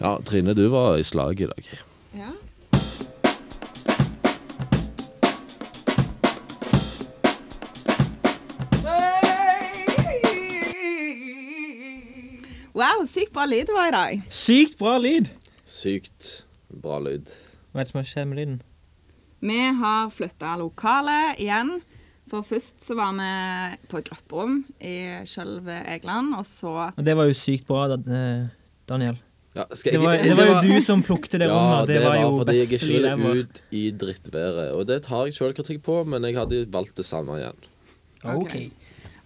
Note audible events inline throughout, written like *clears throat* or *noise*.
Ja, Trine, du var i slaget i dag. Ja. Wow, sykt bra lyd det var i dag. Sykt bra lyd! Sykt bra lyd. Hva er det som har skjedd med lyden? Vi har flytta lokale igjen. For først så var vi på et grupperom i Skjølve Egeland, og så Og det var jo sykt bra, da, eh, Daniel. Ja, skal Det jeg- var, det var jo du som plukket det Ja, rommet. det var jo fordi jeg beste lyd ikke ville ever. ut i drittværet. Og det tar jeg sjøl kritikk på, men jeg hadde valgt det samme igjen. Ok.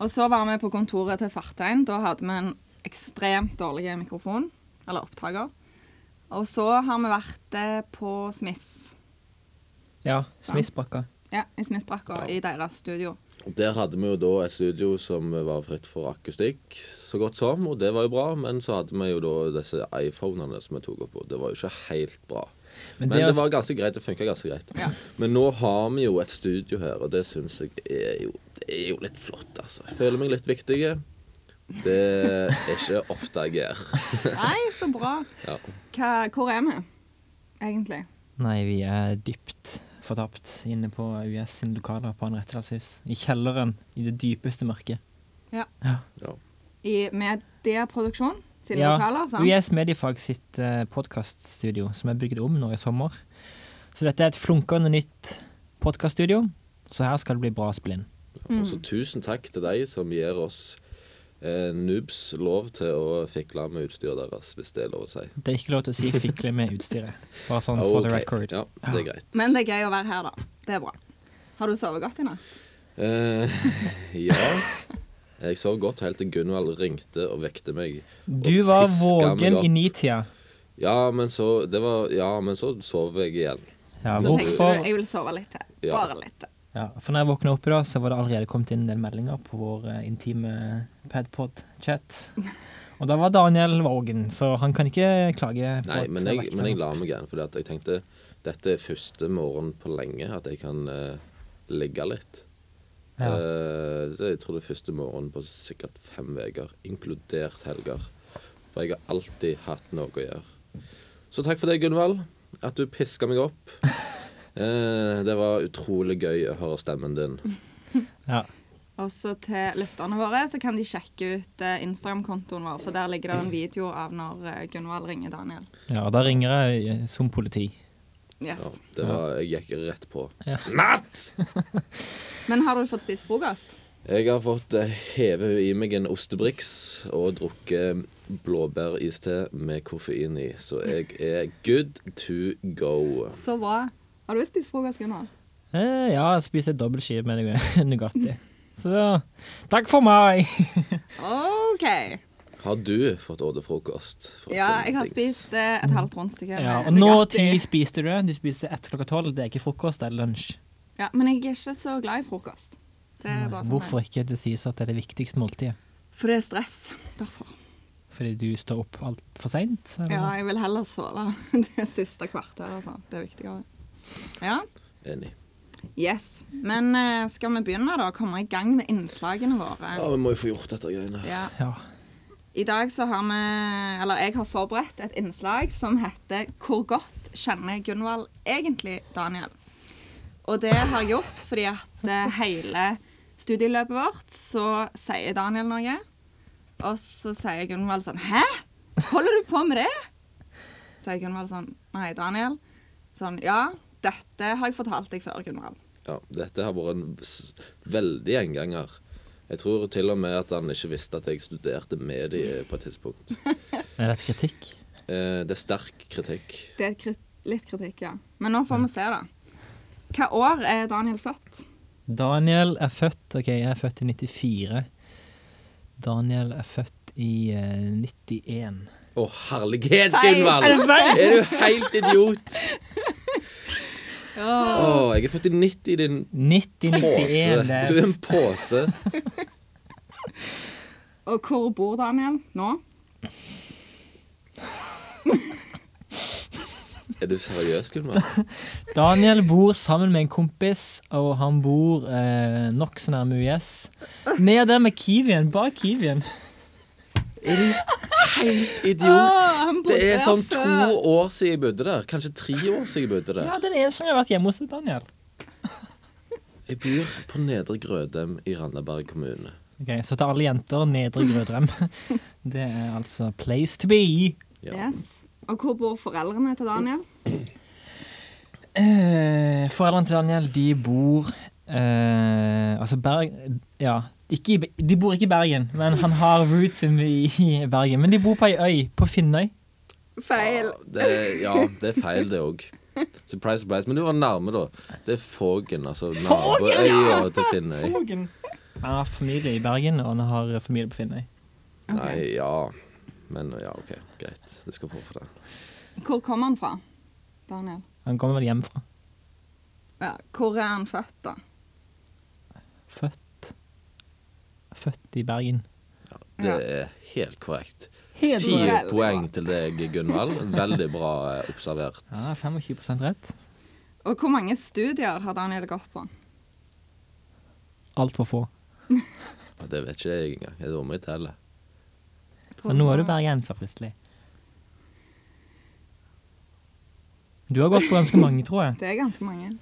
Og så var vi på kontoret til Fartein. Da hadde vi en ekstremt dårlig mikrofon, eller opptaker. Og så har vi vært eh, på Smiss, Ja. Smissbakka. ja, i Smissbrakka, i deres studio. *laughs* Og Der hadde vi jo da et studio som var fritt for akustikk, så godt som, og det var jo bra. Men så hadde vi jo da disse iPhonene som vi tok opp på. Det var jo ikke helt bra. Men, Men det det, er altså- var ganske greit. Det funka ganske greit. Ja. Men nå har vi jo et studio her, og det syns jeg er jo, det er jo litt flott, altså. Jeg føler meg litt viktig. Det er ikke ofte jeg gjør. Nei, så bra. Ja. Hva, hvor er vi, egentlig? Nei, vi er dypt fortapt inne på US sine lokaler på Anne Rettedalshus. I kjelleren, i det dypeste mørket. I Medieproduksjon sine Ja, lokaler, sant? US Mediefag sitt eh, podkaststudio, som er bygd om nå i sommer. Så dette er et flunkende nytt podkaststudio, så her skal det bli bra spill inn. Og så tusen takk til de som gir oss eh, noobs lov til å fikle med utstyret deres, hvis det er lov å si. Det er ikke lov til å si 'fikle med utstyret', bare sånn for the Ok, record. Ja, det er greit. Men det er gøy å være her, da. Det er bra. Har du sovet godt i natt? Eh, *laughs* ja. Jeg sov godt helt til Gunvald ringte og vekte meg. Du var piska meg våken opp. i nitida. Ja, men så, det var, ja, men så sov jeg igjen. Ja, Så tenkte du hvorfor? jeg vil sove litt til. Ja. Bare litt til. Ja, for når jeg våkna opp i dag, så var det allerede kommet inn en del meldinger på vår eh, intime padpod-chat. Og da var Daniel våken, så han kan ikke klage. på Nei, at men jeg jeg, vekte men jeg han. la meg igjen, fordi at jeg tenkte dette er første morgen på lenge at jeg kan eh, ligge litt. Ja. Eh, det, jeg tror det er første morgen på sikkert fem uker, inkludert helger. For jeg har alltid hatt noe å gjøre. Så takk for det, Gunvald, at du piska meg opp. Eh, det var utrolig gøy å høre stemmen din. Ja. Og så til lytterne våre, så kan de sjekke ut eh, Instagram-kontoen vår, for der ligger det en video av når eh, Gunvald ringer Daniel. ja, og da ringer jeg eh, som politi. Yes. Ja, det var, jeg gikk rett på. Ja. Natt! Men har du fått spist frokost? Jeg har fått eh, heve i meg en ostebriks og drukket blåbæriste med koffein i, så jeg er good to go. Så bra. Har du spist frokost, Gunnar? Eh, ja, jeg spiste et dobbeltskive med Nug- *laughs* Nugatti. Så takk for meg! OK. Har du fått åte frokost? fra Ja, jeg har Dings? spist eh, et halvt rundstykke. Ja, med og nå Nugatti. tid spiste du? Du spiste etter klokka tolv. Det er ikke frokost, det er lunsj. Ja, men jeg er ikke så glad i frokost. Det er bare sånn. Hvorfor ikke? Det sies at det er det viktigste måltidet. For det er stress. Derfor. Fordi du står opp altfor seint? Ja, jeg vil heller sove *laughs* det siste kvarteret. Altså. Det er viktigere. Ja. Enig. Yes. Men eh, skal vi begynne, da? Komme i gang med innslagene våre? Ja, vi må jo få gjort dette greiene. her. Ja. ja. I dag så har vi Eller jeg har forberedt et innslag som heter 'Hvor godt kjenner Gunvald egentlig Daniel?' Og det har jeg gjort fordi at eh, hele studieløpet vårt så sier Daniel noe, og så sier Gunvald sånn 'Hæ? Holder du på med det?' Sier Gunvald sånn 'Nei, Daniel.' Sånn 'Ja, dette har jeg fortalt deg før, Gunvald'. Ja, dette har vært en s- veldig gjenganger. Jeg tror til og med at han ikke visste at jeg studerte medie på et tidspunkt. Er dette kritikk? Eh, det er sterk kritikk. Det er krit litt kritikk, ja. Men nå får vi se, da. Hva år er Daniel født? Daniel er født OK, jeg er født i 94. Daniel er født i eh, 91. Å, herlighet, Feil. Gunvald! Er det feil? Er du helt idiot? Å, jeg er født i 90, din 90-91, pose. det Du er er en pose. Og hvor bor Daniel nå? Er du seriøs, Gunvald? Daniel bor sammen med en kompis, og han bor eh, nokså nærme UiS. Nede der med Kiwien, bak Kiwien. helt idiot. Åh, han bodde Det er der sånn Ah, før. to år siden jeg bodde der. Kanskje tre år siden jeg bodde der. Ja, den eneste som har vært hjemme hos deg, Daniel. Jeg bor på Nedre Grødem i Randaberg kommune. Ok, Så til alle jenter, Nedre Grødrem. *laughs* Det er altså place to be. Ja. Yes. Og hvor bor foreldrene til Daniel? Eh, foreldrene til Daniel, de bor eh, Altså Berg... Ja. Ikke i, Be- de bor ikke i Bergen, men han har roots i, i Bergen. Men de bor på ei øy, på Finnøy. Feil. Ah, Det, ja, det er feil, det òg. Surprise, surprise. Men du var nærme, da. Det er Fågen, altså naboøya til Finnøy. Fogen. Han har familie i Bergen, og han har familie på Finnøy. Nei, ja. Men ja, OK, greit. Du skal få for det. Hvor kom han fra? Daniel. Han kommer vel hjemmefra. Ja, hvor er han født, da? Født Født i Bergen. Ja, det er helt korrekt. Helt Ti korrekt. bra. poeng til deg, Gunvald. Veldig bra eh, observert. Ja, 25 rett. Og hvor mange studier har Daniel gått på? Altfor få. Ja, Det vet ikke jeg engang. Jeg er dårlig til å telle. Jeg tror Og nå er du det var- bergenser, plutselig. Du har gått på ganske mange, tror jeg. Det er ganske mange.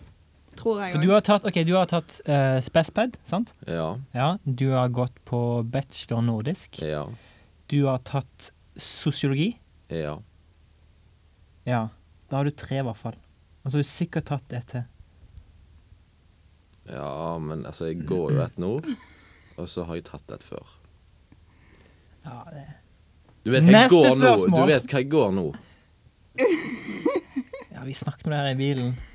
Tror jeg For du òg. har tatt, ok, du har tatt eh, SpesPed, sant? Ja. Ja, du har gått på bachelor nordisk. Ja. Du har tatt sosiologi. Ja. Ja, da har du tre i hvert fall. Og så har du sikkert tatt det til. ja, men altså, jeg går jo et nå, og så har jeg tatt et før. Ja, det. Du vet hva jeg Neste går nå. Du spørsmål. vet hva jeg går nå. ja vi snakket om det her i bilen. *laughs*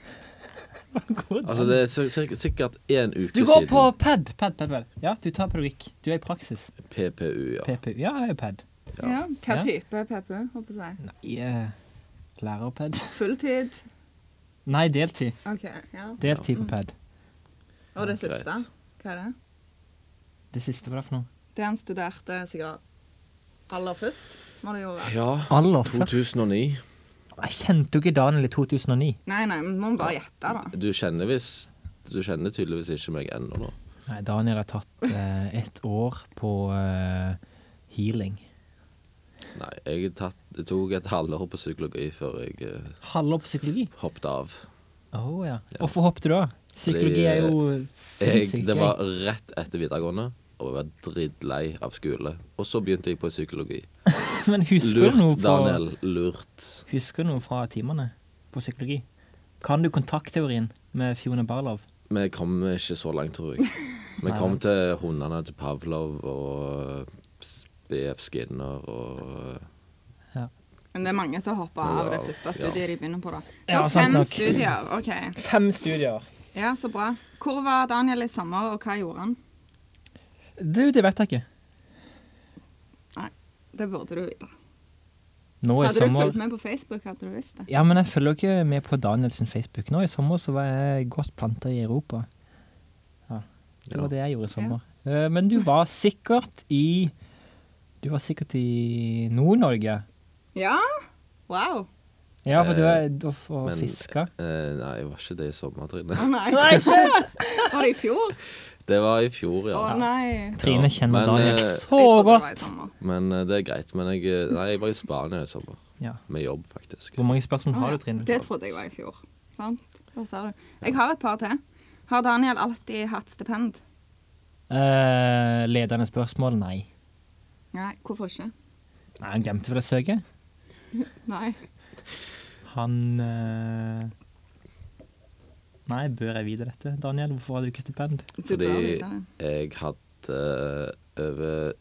Hva går det? Altså, det er sik- sik- sikkert én uke du går siden på PED, PED, PED, PED. Ja, du tar pedagogikk. Du er i praksis. PPU, ja. PPU. Ja, jeg er jo PED. Ja, Ja. hva type PPU, håper jeg. Nei, eh, lærer-PED. Fulltid. Nei, deltid. OK. ja. Deltid på PED. Og det Greit. siste? Hva er det? Det siste var det for noe. Det han studerte sikkert aller først, må det jo være. Ja, Aller først. 2009. Jeg kjente jo ikke Daniel i 2009. Nei, nei, men må man bare gjette, da. Du kjenner visst Du kjenner tydeligvis ikke meg ennå, da. Nei, Daniel har *laughs* tatt eh, ett år på eh, healing. Nei, jeg tatt, det tok et halvår på psykologi før jeg eh, Halvår på psykologi? hoppet av. Å Oh, ja. Hvorfor hoppet du da? Psykologi er jo eh, Jeg, sinnssykt det gøy. var rett etter videregående, og jeg var drittlei av skole. Og så begynte jeg på psykologi. *laughs* Men husker du, noe Lurt, fra, Daniel. Lurt. husker du noe fra timene på psykologi? Kan du kontaktteorien med Fiona Barlow? Vi kom ikke så langt, tror jeg. Vi Nei. kom til hundene til Pavlov og BF Skinner og Men det er mange som hopper Ja, av det første studiet ja. de begynner på, da. Så Ja, sant fem nok. studier, OK. Fem studier. Ja, så bra. Hvor var Daniel i sommer, og hva gjorde han? Du, det vet jeg ikke. Det burde du vite. Nå i Hadde du sommer fulgt med på Facebook, hadde du visst det. Ja, men jeg følger jo ikke med på Daniel sin Facebook. Nå i sommer så var jeg godt planta i Europa. Ja, det var Ja. det jeg gjorde i sommer. Eh, Men du var sikkert i Du var sikkert i Nord-Norge. Ja? Wow. Ja, for du Eh, var da for men- fiska. eh, Nei, jeg var ikke det i sommer, Trine. Å nei. *laughs* Var det i fjor? *laughs* Det var i fjor, Å ja. nei. Trine kjenner men, Daniel eh, så Jeg trodde det var i godt. sommer. Men eh, det er greit. Men jeg, eh, nei, jeg var i Spania i sommer. Ja. Med jobb, faktisk. Hvor mange spørsmål Å, har ja. du, Trine? Ah, Det trodde jeg var i fjor. Sant? Der ser du. Jeg har et par til. Har Daniel alltid hatt stipend? Eh, ledende spørsmål? Nei. Nei, hvorfor ikke? Nei, Han glemte vel å søke. Nei. Han eh, Nei, bør jeg vite dette, Daniel? Hvorfor har du ikke stipend? Du Fordi bør vite det. jeg hadde eh, over,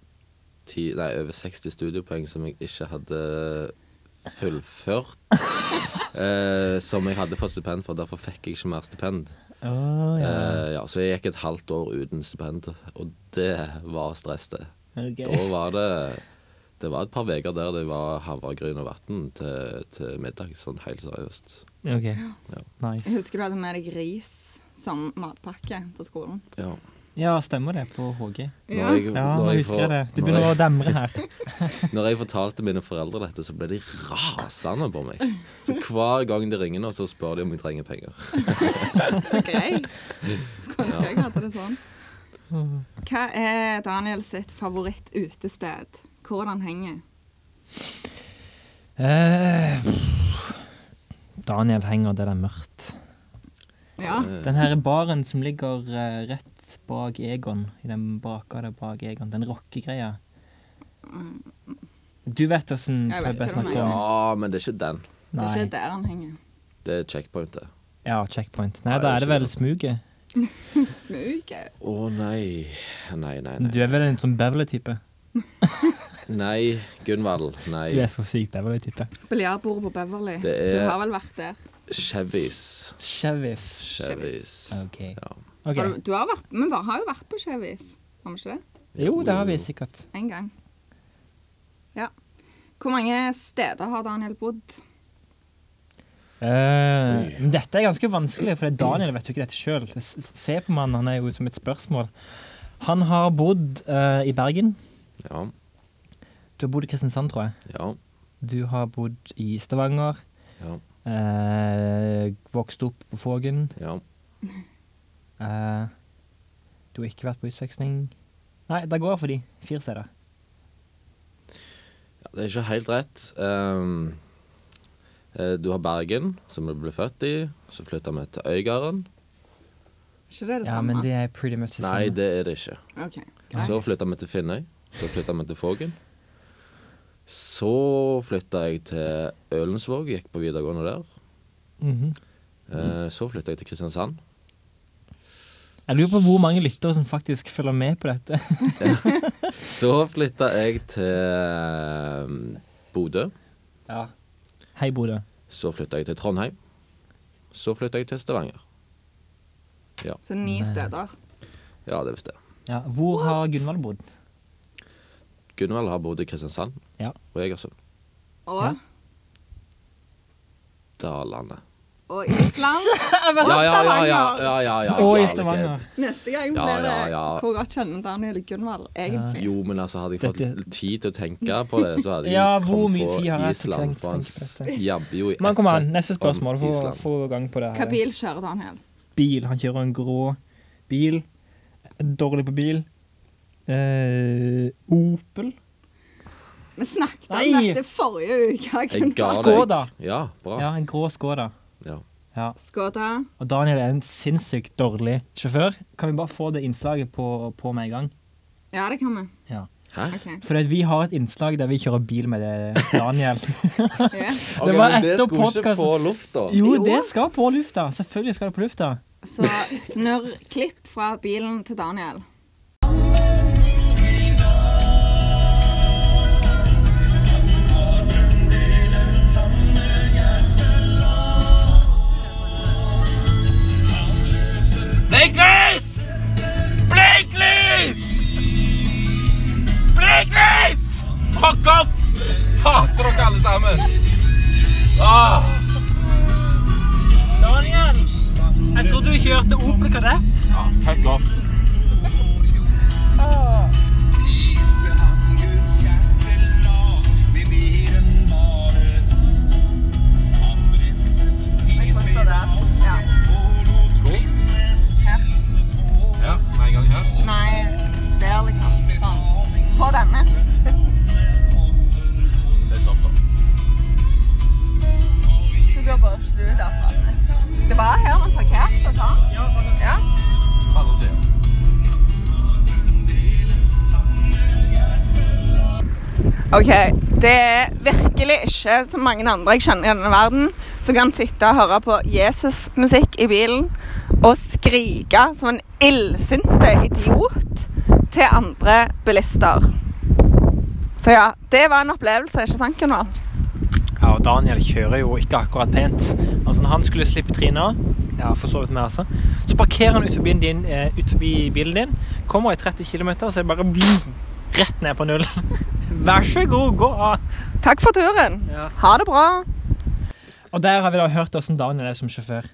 ti, nei, over 60 studiepoeng som jeg ikke hadde fullført. *laughs* eh, som jeg hadde fått stipend for. Derfor fikk jeg ikke mer stipend. Å, ja. Eh, ja, så jeg gikk et halvt år uten stipend, og det var stress, det. Ok. Da var det det var et par uker der det var havregryn og vann til, til middag, sånn helt seriøst. Ok, Jeg nice. husker du hadde med deg ris som matpakke på *laughs* skolen. Ja. Ja, stemmer det på HG? Når jeg, Ja, når nå jeg husker får- jeg det. Det når begynner jeg- å demre her. *laughs* Når jeg fortalte mine foreldre dette, så ble de rasende på meg. Så hver gang de ringer nå, så spør de om jeg trenger penger. Så greit. Skulle ønske jeg hadde det sånn. Hva er Daniel sitt favoritt-utested? Hvor han henger? Eh, Daniel henger der det er mørkt. Ja. Eh, Den her baren som ligger eh, rett bak Egon, i den bakgata bak Egon, den rockegreia Du vet åssen Jeg vet pub jeg hva du snakker om? Ja, men det er ikke den. Det er Nei. ikke der han henger. Det er checkpointet. Ja, checkpoint. Nei, Nei, da det er det er ikke vel smuget. Smuget. Å nei. Nei, nei, Du nei. er vel en sånn Beverly-type? Nei, Gunvald. Nei. Du er så sykt Beverly-type. Biljardbordet på Beverly. Det er- Du har vel vært der? Chevys. Chevis. Chevys. OK. Ja. Ok. Har du, du har vært, men vi har jo vært på Chevis, har vi ikke det? Jo, det har vi sikkert. En gang. Ja. Hvor mange steder har Daniel bodd? Eh, men dette er ganske vanskelig, for Daniel vet jo ikke dette sjøl. Se på mannen, han er jo som et spørsmål. Han har bodd eh, i Bergen. Ja. Du har bodd i Kristiansand, tror jeg. Ja. Du har bodd i Stavanger. Ja. eh, vokst opp på Fågen. ja. eh, du har ikke vært på utveksling. Nei, det går for de. Fire steder. Ja, Det er ikke helt rett. Ehm, eh, du har Bergen, som vi ble født i. Så flytta vi til Øygarden. Ikke det det Ja, samme? men det er pretty much det Nei, samme. det er det ikke. Ok, greit. Så flytta vi til Finnøy. Så flytta vi til Fågen. Så flytta jeg til Ølensvåg, gikk på videregående der. Mhm. Eh, Så flytta jeg til Kristiansand. Jeg lurer på hvor mange lyttere som faktisk følger med på dette. Så flytta jeg til ehm, Bodø. Ja. Hei, Bodø. Så flytta jeg til Trondheim. Så flytta jeg til Stavanger. Så ni Nei. steder. Ja, det er visst det. Ja. Hvor har Gunvald bodd? Gunvald har bodd i Kristiansand Ja. og Egersund. Og, Ja. Dalandet. og *laughs* Island. Ja, ja, ja. ja, ja, ja, ja Og i jævlig Stavanger. kid. Neste gang Ja, blir det ja, ja. hvor godt kjenner Daniel Gunvald egentlig. Jo, men altså, hadde jeg fått Dette- litt tid til å tenke på det, så hadde jeg Ja, kommet hvor mye på tid har jeg til å Island, tenke- for han tenke på dette? jabber jo i Men ett kom an, sett neste spørsmål. om Få, Island. få gang på det her. Hva bil kjører Daniel? Bil. Han kjører en grå bil. Dårlig på bil. Eh, Opel. Vi snakket om Nei. dette forrige uke. Jeg ga Gunvald. deg. Skoda. Ja, bra. Ja, en grå Skoda. Ja. Ja. Skoda. Og Daniel er en sinnssykt dårlig sjåfør. Kan vi bare få det innslaget på, på med en gang? Ja, det kan vi. Ja. Hæ? Ok. For vi har et innslag der vi kjører bil med det, *laughs* Daniel. Ja. Det var men det etter skulle ikke podcasten. på lufta. Jo, Jo. det skal på lufta. Selvfølgelig skal det på lufta. Så snurr klipp fra bilen til Daniel. Blinklys! Blinklys! Blinklys! Fuck off! Hater dere alle sammen. Ah. Åh. Daniel, jeg trodde du kjørte Opel Kadett. Ja, fuck off. viste han Guds hjerte la med mer enn bare ord. Han renset de med avstand og lot kvinnes hende få. Ja, med en gang her. Nei, der liksom. Sånn. På denne. Si stopp, da. Du går bare og snur derfra. Det var her man parkerte, sånn. Ja. Bare se. OK. Det er virkelig ikke så mange andre jeg kjenner i denne verden, som kan sitte og høre på Jesus-musikk i bilen og skrike som en illsinte idiot til andre bilister. Så ja, det var en opplevelse, ikke sant, Gunvald? Ja, og Daniel kjører jo ikke akkurat pent. Altså, når han skulle slippe Trina, ja, for så vidt meg altså, så parkerer han ut forbi, din, eh, ut forbi bilen din, kommer i 30 km, og så er det bare bling, rett ned på null. *laughs* Vær så god, gå av! Takk for turen. Ja. Ha det bra. Og der har vi da hørt hvordan Daniel er som sjåfør.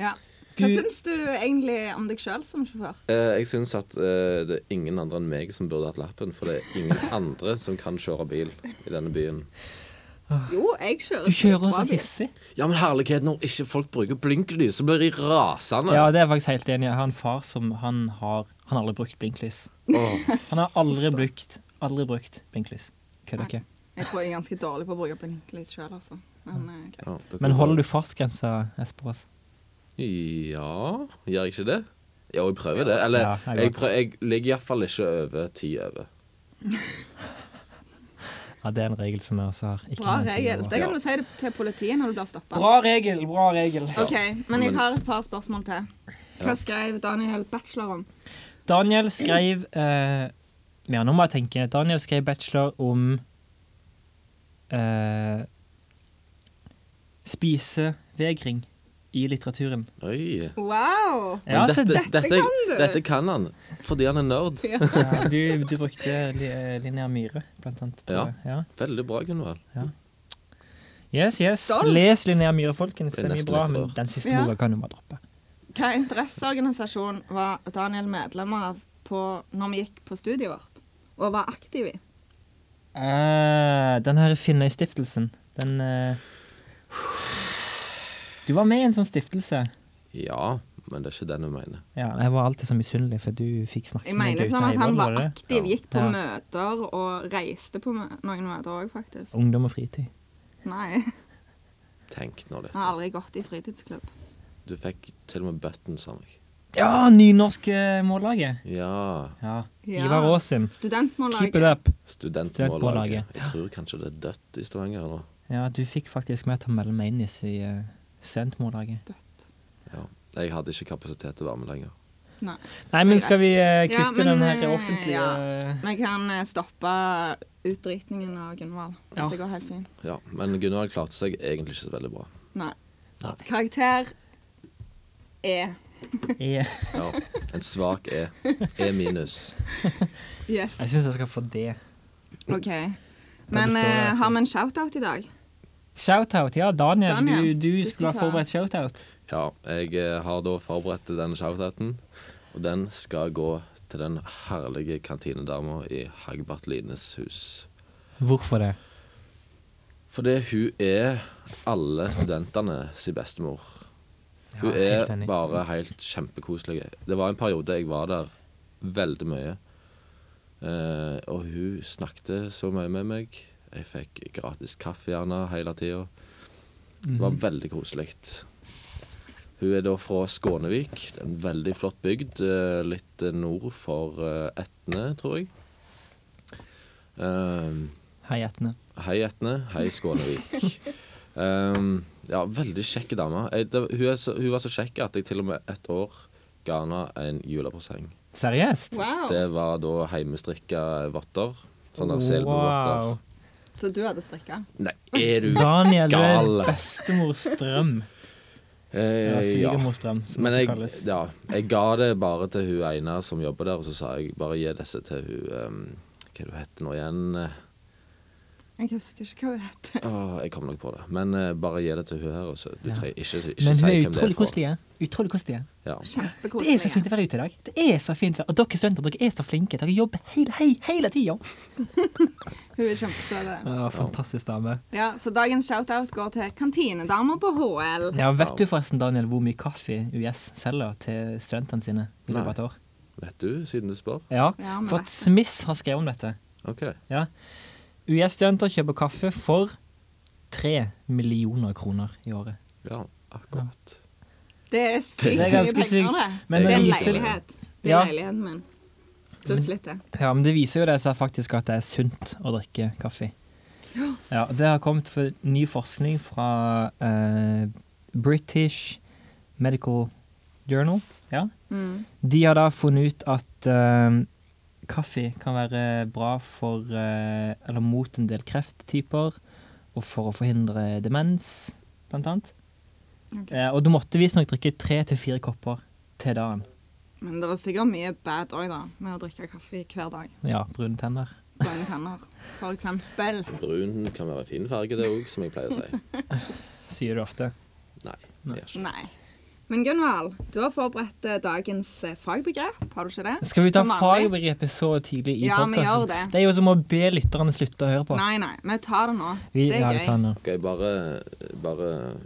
Ja. Du- Hva syns du egentlig om deg sjøl som sjåfør? Eh, jeg syns at eh, det er ingen andre enn meg som burde hatt lappen, for det er *laughs* ingen andre som kan kjøre bil i denne byen. Jo, jeg kjører. Du kjører bra så bil. hissig. Ja, men herlighet, når ikke folk bruker blinklys, så blir de rasende. Ja, det er jeg faktisk helt enig. i. Jeg har en far som han har, han har aldri brukt blinklys. Åh, Han har aldri brukt, aldri brukt blinklys. Kødder ikke. Jeg tror jeg er ganske dårlig på å bruke blinklys sjøl, altså. Men eh, greit. Ja, det Men går holder bra. du fartsgrensa, Espen Aas? Ja Gjør jeg ikke det? Jo, jeg prøver det. Eller Ja, jeg jeg, godt. prøver, jeg ligger iallfall ikke over ti over. Ja, det er en regel som vi også har. Ikke Bra noen ting regel. over. Det kan du si til politiet når du blir stoppa. Bra regel, bra regel. OK, men jeg Men- har et par spørsmål til. Hva skrev Daniel Bachelor om? Daniel skrev eh, Ja, nå må jeg tenke. Daniel skrev bachelor om eh, spisevegring i litteraturen. Oi. Wow! Men Ja, så dette, dette, det- dette kan du. dette kan han, fordi han er nerd. Ja. ja, du, du brukte li, eh, Linnea Myhre, blant annet. tror Ja. jeg. ja. Veldig bra, Gunvald. Yes, yes. Stolt. Les Linnea Myhre, folkens. Ble Det er mye nesten bra, litt men rørt. den siste Ja. boka kan du bare droppe. Hva interesseorganisasjon var Daniel medlem av på, når vi gikk på studiet vårt? Og var aktiv i? Eh, den her Finnøystiftelsen, den eh, Du var med i en sånn stiftelse. Ja, men det er ikke den hun mener. Ja, jeg var alltid så misunnelig, for du fikk snakke Jeg med mener sånn at Eivoll, han var det det? aktiv, Ja. gikk på Ja. møter og reiste på mø noen møter òg, faktisk. Ungdom og fritid. Nei, Tenk nå litt. han har aldri gått i fritidsklubb. Du fikk til og med buttons av meg. Ja, Nynorsk eh, Mållaget. Ja. Ja. Ja. Ivar Aasen. Keep it Studentmållaget. up. Studentmållaget. Studentmållaget. Jeg tror kanskje det er dødt i Stavanger nå. Ja, du fikk faktisk med til å melde meg inn i si, eh, Studentmållaget. Ja. Jeg hadde ikke kapasitet til å være med lenger. Nei. Nei, men skal vi eh, Ja, kutte men, den her eh, offentlige *laughs* Vi kan eh, stoppe utdritningen av Gunvald. Ja. Det går helt fint. Ja, Men Gunvald klarte seg egentlig ikke så veldig bra. Nei. Nei. Karakter E. E? Ja. En svak E. E minus. Yes. Jeg syns jeg skal få det. OK. Men består jeg eh, etter. har vi en shout-out i dag? Shout-out. Ja, Daniel, Daniel, du, du, du skulle skulle ha ta- forberedt shout-out. Ja, jeg eh, har da forberedt denne shoutouten, og den skal gå til den herlige kantinedama i Hagbart Lines hus. Hvorfor det? Fordi hun er alle studentene sin bestemor. Hun helt er enig. bare helt kjempekoselig. Det var en periode jeg var der veldig mye. Eh, og hun snakket så mye med meg. Jeg fikk gratis kaffe gjerne hele tida. Det Mhm. var veldig koselig. Hun er da fra Skånevik. Det er En veldig flott bygd eh, litt nord for eh, Etne, tror jeg. Eh, Hei, Etne. Hei Etne, hei Skånevik. Um, ja, veldig kjekk dame. Jeg, det, hun, er så, hun var så kjekk at jeg til og med et år ga henne en julepresang. Seriøst? Wow. Det var da heimestrikka votter. Sånne selbuvotter. Wow. Så du hadde strikka? Nei, er du Daniel, du er Gal. bestemors drøm. Eller eh, *laughs* Ja. svigermors drøm, som Men det jeg, kalles. ja, jeg ga det bare til hun ene som jobber der, og så sa jeg bare gi disse til hun um, Hva er det hun heter nå igjen? Jeg husker ikke hva hun heter. Åh, jeg kom nok på det. Men eh, bare gi det til hun her. og så- Du Ja. trenger ikke, ikke Men hun si er hvem det er utrolig fra. koselige. Utrolig koselige. Ja. Det er så fint å være ute i dag. Det er så fint å være. Og dere studenter, dere er så flinke. Dere jobber hele, hei, hele tida. Hun er kjempesøt. fantastisk dame. Ja, så dagens shout-out går til kantinedamer på HL. Ja, Vet du forresten, Daniel, hvor mye kaffe US selger til studentene sine i løpet av et år? Vet du, siden du spør? Ja, Ja, men for vet at du. Smith har skrevet om dette. OK. US-studenter kjøper kaffe for tre millioner kroner i året. Ja, akkurat. Det er sykt Det er mye ganske penger, sykt, det. men det det er en viser- leilighet. Det er Ja. leiligheten min. Pluss litt til. Ja, men det viser jo det seg faktisk at det er sunt å drikke kaffe. Ja, det har kommet for ny forskning fra eh, British Medical Journal. Ja. Mm. De har da funnet ut at eh, kaffe kan være bra for eh, Eller mot en del krefttyper, og for å forhindre demens, blant annet. Ok. Eh, og du måtte visstnok drikke tre til fire kopper til dagen. Men det er sikkert mye bad òg, da, med å drikke kaffe hver dag. Ja, brune tenner. Brune tenner, for eksempel. Brun kan være en fin farge, det òg, som jeg pleier å si. Sier du ofte. Nei. det gjør ikke. Nei. Men Gunvald, du har forberedt eh, dagens eh, fagbegrep, har du ikke det? Skal vi ta Som vanlig. fagbegrepet så tidlig i Ja, vi podcasten? gjør det. er jo som å be lytterne slutte å høre på. Nei, nei, vi tar det nå. vi, det ja, er vi gøy. tar den nå. OK, bare, bare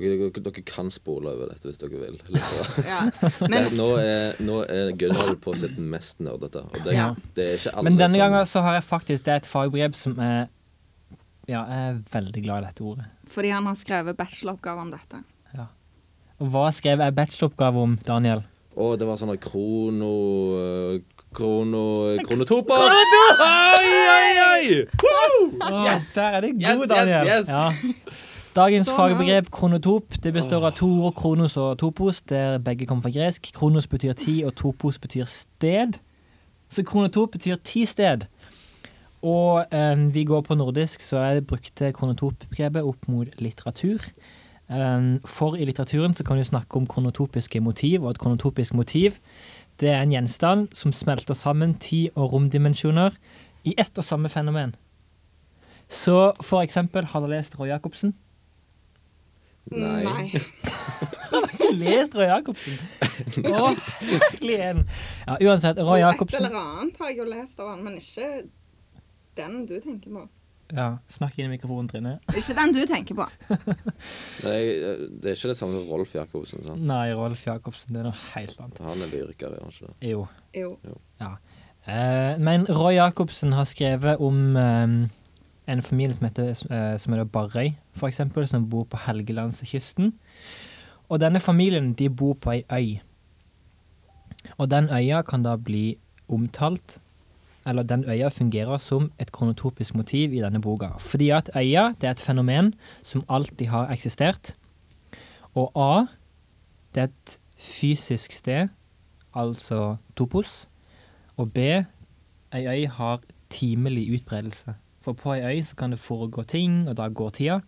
Dere, dere, dere kan spole over dette hvis dere vil. Litt bra. Ja. Det, *laughs* Men nå er, nå er Gunvald på sitt mest nerdete. Og det, Ja. det er ikke alle Men denne som- gangen så har jeg faktisk Det er et fagbrev som er Ja, jeg er veldig glad i dette ordet. fordi han har skrevet bacheloroppgave om dette. Og hva skrev jeg bacheloroppgave om, Daniel? Å, det var sånn krono... eh, Krono... Kronotoper! Oi, oi, oi! Åh, Der er det Yes, yes, god, Daniel. yes. Ja. Dagens Så fagbegrep kronotop det består av to ord, kronos og topos, der begge kommer fra gresk. Kronos betyr tid, og topos betyr sted. Så kronotop betyr ti sted. Og eh, vi går på nordisk, så jeg brukte kronotopbegrepet opp mot litteratur. Eh, for i litteraturen så kan du snakke om kronotopiske motiv, og et kronotopisk motiv det er en gjenstand som smelter sammen tid- og romdimensjoner i ett og samme fenomen. Så for eksempel, har dere lest Roy Jacobsen? Nei. *laughs* Har du lest Roy Jacobsen? Å, virkelig en. Ja, uansett, Roy Et Jacobsen eller annet har jeg jo lest av han, men ikke den du tenker på. ja, Snakk inn i mikrofonen, Trine. Ikke den du tenker på. Nei, eh, det er ikke det samme som Rolf Jacobsen, sant? Nei, Rolf Jacobsen, det er noe helt annet. Han er lyriker, er han ikke det? Jo. Jo. Eh, men Roy Jacobsen har skrevet om eh, en familie som heter eh, som heter Barøy, for eksempel, som bor på Helgelandskysten. Og denne familien de bor på ei øy. Og den øya kan da bli omtalt Eller den øya fungerer som et kronotopisk motiv i denne boka. Fordi at øya det er et fenomen som alltid har eksistert. Og A det er et fysisk sted, altså topos. Og B. Ei øy har timelig utbredelse. For på ei øy så kan det foregå ting, og da går tida.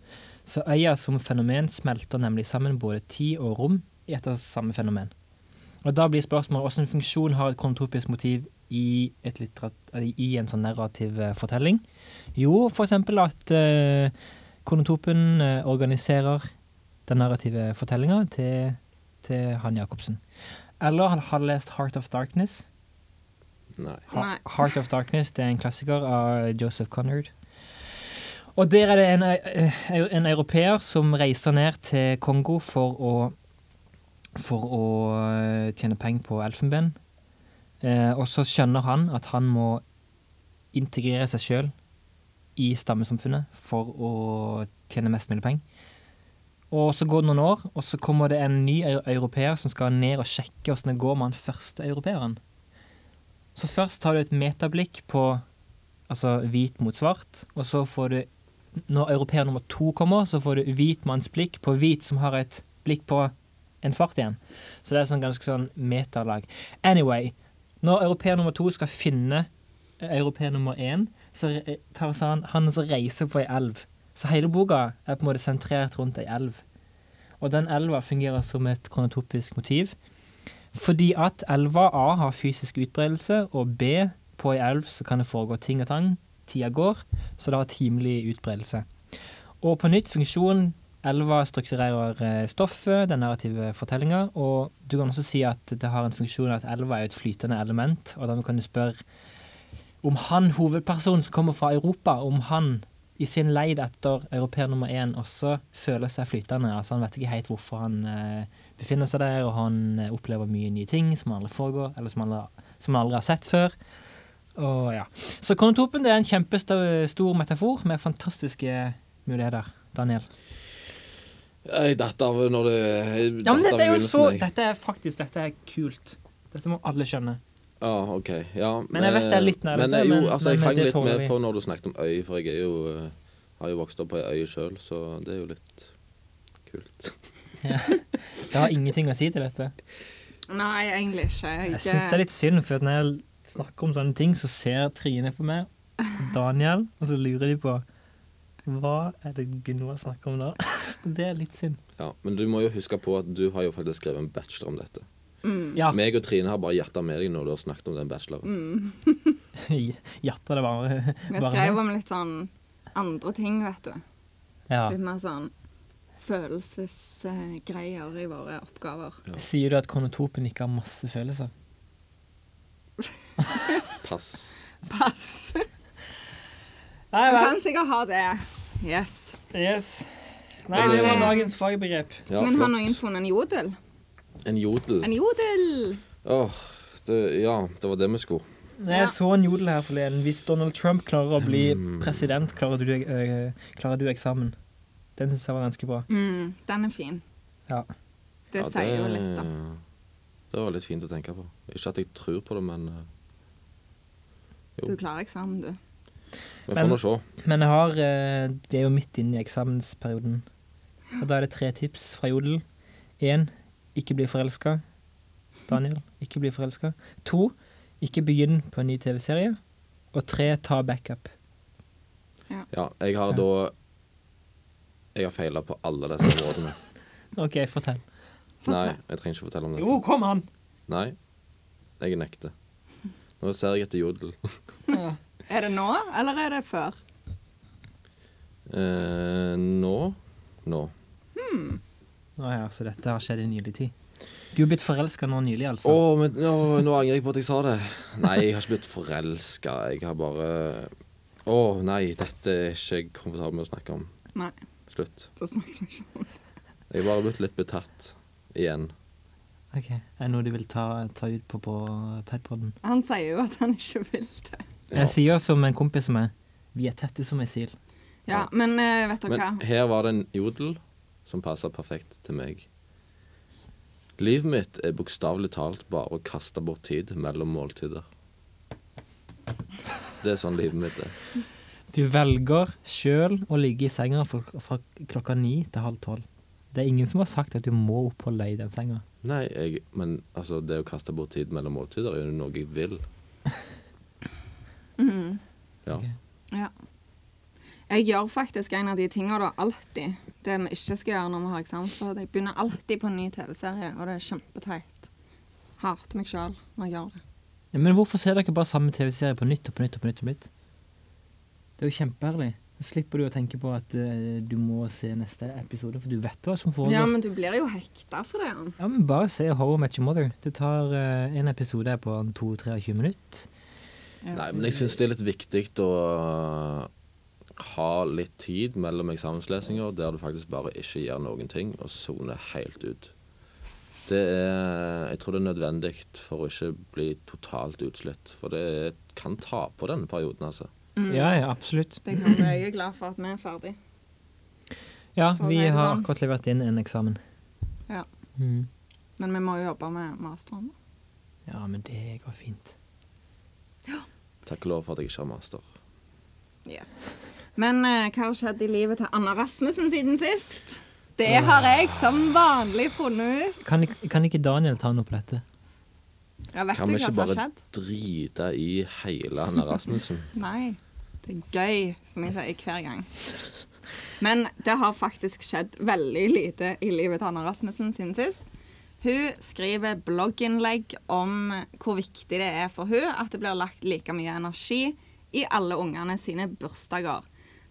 Så øya som fenomen smelter nemlig sammen både tid og rom i et og samme fenomen. Og da blir spørsmålet hvilken funksjon har et kronotopisk motiv i, et litterat, eller i en sånn narrativ eh, fortelling? Jo, for eksempel at eh, kronotopen eh, organiserer den narrative fortellinga til, til han Jacobsen. Eller har du lest Heart of Darkness? Nei. Ha Nei. Heart of Darkness det er en klassiker av Joseph Conrad. Og der er det en, eh, en europeer som reiser ned til Kongo for å, for å eh, tjene penger på elfenben. Eh, og så skjønner han at han må integrere seg sjøl i stammesamfunnet for å tjene mest mulig penger. Og så går det noen år, og så kommer det en ny eu- europeer som skal ned og sjekke åssen det går med han første europeeren. Så først tar du et metablikk på altså hvit mot svart, og så får du Når europeer nummer to kommer, så får du hvit manns blikk på hvit som har et blikk på en svart igjen. Så det er sånn ganske sånn metalag. Anyway, når europeer nummer to skal finne eh, europeer nummer én, så re- eh, tar så han, han så reiser på ei elv. Så hele boka er på en måte sentrert rundt ei elv. Og den elva fungerer som et kronotopisk motiv. Fordi at elva A har fysisk utbredelse, og B på ei elv så kan det foregå ting og tang. Tida går, så det har timelig utbredelse. Og på nytt funksjon elva strukturerer eh, stoffet, den narrative fortellinga, og du kan også si at det har en funksjon at elva er et flytende element, og dermed kan du spørre om han hovedpersonen som kommer fra Europa, om han i sin leid etter europeer nummer én også føler seg flytende. Altså han vet ikke helt hvorfor han eh, befinner seg der, og han eh, opplever mye nye ting som aldri foregår, eller som han aldri, som han aldri har sett før. Og ja. Så konotopen det er en kjempestor metafor med fantastiske muligheter. Daniel. Jeg datt av når det jeg Ja, men datt av dette er jo begynnelsen, så jeg. Dette er faktisk dette er kult. Dette må alle skjønne. Ja, OK. Ja, Men jeg vet det er litt nærmere, Men, eh, jo, men- altså, men jeg hang det litt tåler med vi. på når du snakket om øy, for jeg er jo eh, har jo vokst opp på ei øy sjøl, så det er jo litt kult. *laughs* Det har ingenting å si til dette. Nei, egentlig ikke. Jeg syns det er litt synd, for at når jeg snakker om sånne ting, så ser Trine på meg, Daniel, og så lurer de på hva er det Gunvor snakker om da? *laughs* Det er litt synd. Ja, men du må jo huske på at du har jo faktisk skrevet en bachelor om dette. Ja. *laughs* Mm. Meg og Trine har bare hjerta med deg når du har snakket om den bacheloren. Jatter det bare. Vi skrev om litt sånn andre ting, vet du. Ja. Litt mer sånn følelsesgreier i våre oppgaver. *laughs* Sier du at konotopen ikke har masse følelser? Pass. Pass. Nei Du kan sikkert ha det. Yes. Yes. Nei, det var dagens fagbegrep. Ja, Men har noen flott. funnet en jodel? En jodel. En jodel! Åh, det, ja, det var det vi skulle. Jeg så en jodel her forleden. Hvis Donald Trump klarer å bli president, klarer du, ø, klarer du eksamen? Den syns jeg var ganske bra. Mm, den er fin. Ja. Det Ja, sier jo litt, da. Det var litt fint å tenke på. Ikke at jeg tror på det, men eh, jo. Du klarer eksamen, du. Vi får Men- nå se. Men jeg har ø, Det er jo midt inne i eksamensperioden. Og da er det tre tips fra jodel. Én ikke bli forelska. Daniel, ikke bli forelska. To ikke begynn på en ny TV-serie. Og tre ta backup. Ja, jeg har da Jeg har feila på alle disse områdene. *laughs* OK, fortell. Nei, jeg trenger ikke fortelle om det. Jo, kom an! Nei, jeg nekter. Nå ser jeg etter jodel. Er det nå, eller er det før? Eh, nå Nå. Å ja, så dette har skjedd i nylig tid. Du er blitt forelska nå nylig, Å, altså? men nå, nå angrer jeg på at jeg sa det. Nei, jeg har ikke blitt forelska. Jeg har bare Å nei, dette er ikke jeg komfortabel med å snakke om. Nei, Slutt. så snakker vi ikke om det. Jeg har bare blitt litt betatt. Igjen. Ok, Er det noe du vil ta, ta ut på, på padpoden? Han sier jo at han ikke vil det. Ja. Jeg sier som en kompis som er Vi er tette som ei sil. Ja, men eh, vet dere Men hva? her var det en jodel som passa perfekt til meg. Livet mitt er bokstavelig talt bare å kaste bort tid mellom måltider. Det er sånn livet mitt er. Du velger sjøl å ligge i senga fra, fra klokka ni til halv tolv. Det er ingen som har sagt at du må oppholde deg i den senga. Nei, jeg, men altså, det å kaste bort tid mellom måltider er jo noe jeg vil. Ja. Ok. Ja. Jeg gjør faktisk en av de tingene da, alltid. Det vi ikke skal gjøre når vi har eksamensforhold. Jeg begynner alltid på en ny TV-serie, og det er kjempeteit. Hater meg sjøl når jeg gjør det. Ja, Men hvorfor ser dere bare samme TV-serie på nytt og på nytt og på nytt? og på nytt? Det er jo kjempeherlig. Da slipper du å tenke på at eh, du må se neste episode, for du vet hva som foregår. Ja, men du blir jo hekta for det. Jan. Ja, men bare se Horror Match Your Mother. Det tar eh, en episode her på en 2-23 minutter. Nei, men jeg syns det er litt viktig å ha litt tid mellom eksamenslesinger der du faktisk bare ikke gjør noen ting, og soner helt ut. Det er Jeg tror det er nødvendig for å ikke bli totalt utslitt. For det er- kan ta på denne perioden, altså. Mm. Ja, ja, absolutt. Det kan det. Jeg er glad for at vi er ferdig. Ja, For å vi si det har sånn. akkurat levert inn en eksamen. Ja. Mm. Men vi må jo jobbe med masteren. Ja, men det går fint. Takk og lov for at jeg ikke har master. Yes. Men eh, hva har skjedd i livet til Anna Rasmussen siden sist? Det har jeg som vanlig funnet ut. Kan, ikk- kan ikke Daniel ta noe på dette? Ja, vet Kan du vi hva ikke som bare har skjedd? drite i hele Anna Rasmussen? *laughs* Nei. Det er gøy, som jeg sier hver gang. Men det har faktisk skjedd veldig lite i livet til Anna Rasmussen siden sist. Hun skriver blogginnlegg om hvor viktig det er for hun at det blir lagt like mye energi i alle ungene sine bursdager.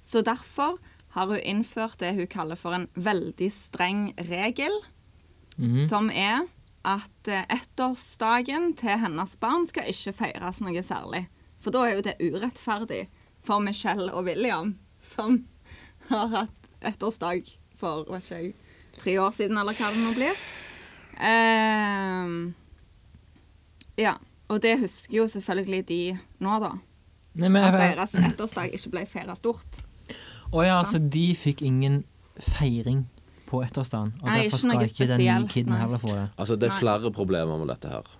Så derfor har hun innført det hun kaller for en veldig streng regel, Mm. som er at eh, ettårsdagen til hennes barn skal ikke feires noe særlig. For da er jo det urettferdig for Michelle og William, som har hatt ettårsdag for vet ikke jeg, tre år siden, eller hva det nå blir. Ehm, ja. Og det husker jo selvfølgelig de nå, da. Nei, men At jeg, deres ettårsdag ikke ble feira stort. Å ja, altså, de fikk ingen feiring på ettårsdagen. Og Nei, ikke derfor skal noe ikke den nye spesielt, kiden nei. heller få det. Altså, det er Nei. flere problemer med dette her.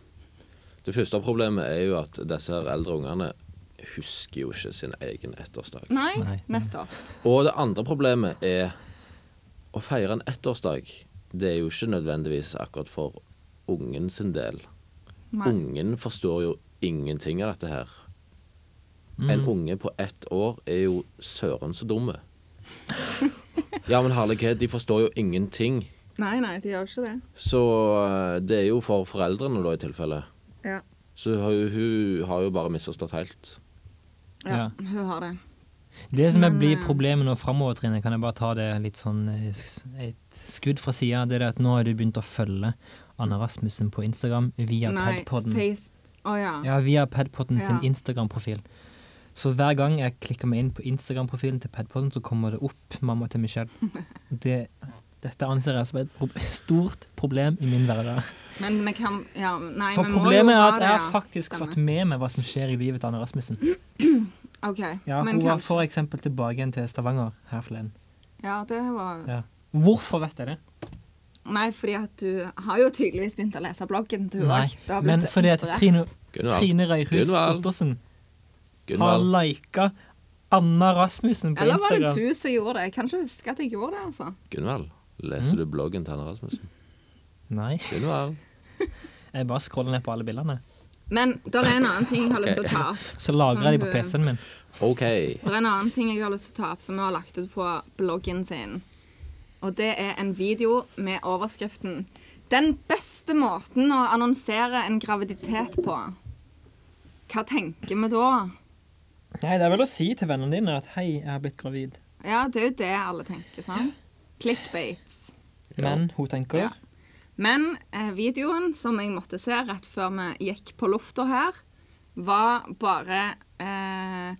Det første problemet er jo at disse her eldre ungene husker jo ikke sin egen ettårsdag. Nei, Nei. nettopp. Og det andre problemet er å feire en ettårsdag. Det er jo ikke nødvendigvis akkurat for ungen sin del. Nei. Ungen forstår jo ingenting av dette her. En unge på ett år er jo søren så dumme. Ja, men herlighet, de forstår jo ingenting. nei, nei, de gjør ikke det. Så eh, det er jo for foreldrene, da, i tilfelle. Ja. Så hun, hun har jo bare misforstått helt. Ja, Ja. hun har det. Det som er- Mm. blir problemet nå framover, Trine, kan jeg bare ta det litt sånn eh, s- et skudd fra sida, det er det at nå har du begynt å følge Anna Rasmussen på Instagram via Nei, Padpodden. Face... Å ja. Ja, via Padpotten sin Ja. Instagram-profil. Så hver gang jeg klikker meg inn på Instagram-profilen til Padpodden, så kommer det opp mamma *laughs* til Michelle. Det, dette anser jeg som et pro- stort problem i min hverdag. Men vi kan Ja, nei, For vi må jo problemet er ha at det. jeg har ja. faktisk Stemmer. fått med meg hva som skjer i livet til Anne Rasmussen. OK. Ja, men hun var kanskje for eksempel tilbake igjen til Stavanger her forleden. Ja, det var Ja. Hvorfor vet jeg det? Nei, fordi at du har jo tydeligvis begynt å lese bloggen til Nei, henne. men fordi at Trine, Gunvald. Trine Røyhus Gunvald. Ottersen har Gunvald. lika Anna Rasmussen på Eller var det Instagram. du som gjorde det? Jeg kan ikke huske at jeg gjorde det, altså. Gunvald. Leser du bloggen til Anne Rasmussen? Nei, Gunvald. jeg bare scroller ned på alle bildene. Men det er en annen ting jeg har lyst til å ta opp. Så lagrer jeg de på Sånn, PC-en min. OK. Det er en annen ting jeg har lyst til å ta opp som vi har lagt ut på bloggen sin. Og det er en video med overskriften 'Den beste måten å annonsere en graviditet på'. Hva tenker vi da? Nei, det er vel å si til vennene dine at hei, jeg har blitt gravid. Ja, det er jo det alle tenker, sant? Clickbaits. Men hun tenker Ja. Men eh, videoen som jeg måtte se rett før vi gikk på lufta her, var bare eh,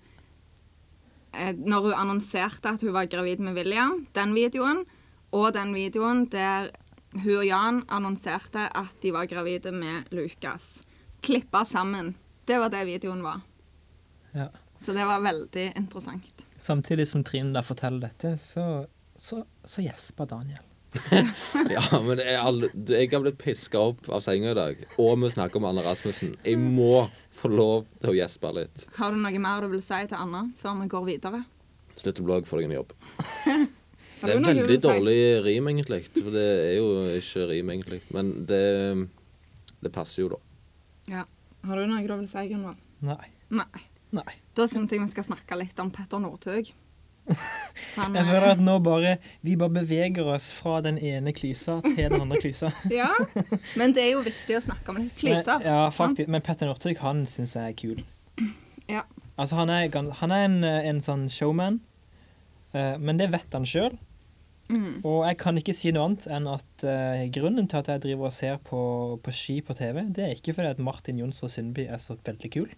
eh, Når hun annonserte at hun var gravid med William, den videoen, og den videoen der hun og Jan annonserte at de var gravide med Lukas. Klippa sammen. Det var det videoen var. Ja. Så det var veldig interessant. Samtidig som Trine da forteller dette, så, så, så gjesper Daniel. Ja, men jeg, har aldri- du, jeg har blitt piska opp av senga i dag, og vi snakker om Anne Rasmussen. Jeg må få lov til å gjespe litt. Har du noe mer du vil si til Anna før vi går videre? Slutt å blogge, få deg en jobb. Har Det er du en noe du veldig vil si? dårlig rim, egentlig. For det er jo ikke rim, egentlig. Men det, det passer jo, da. Ja. Har du noe du vil si, Gunvor? Nei. Nei. Nei. Da syns jeg vi skal snakke litt om Petter Northug. *laughs* Han, Jeg føler at nå bare Vi bare beveger oss fra den ene klysa til den andre klysa. eh, ja. Men det er jo viktig å snakke om litt klyser. Men, ja, faktisk. Men Petter Northug, han syns jeg er kul. Ja. Altså, han er, gans- han er en, eh, en sånn showman, eh, men det vet han sjøl. Mm. Og jeg kan ikke si noe annet enn at eh, grunnen til at jeg driver og ser på, på ski på TV, det er ikke fordi at Martin Jonsrud Sundby er så veldig kul.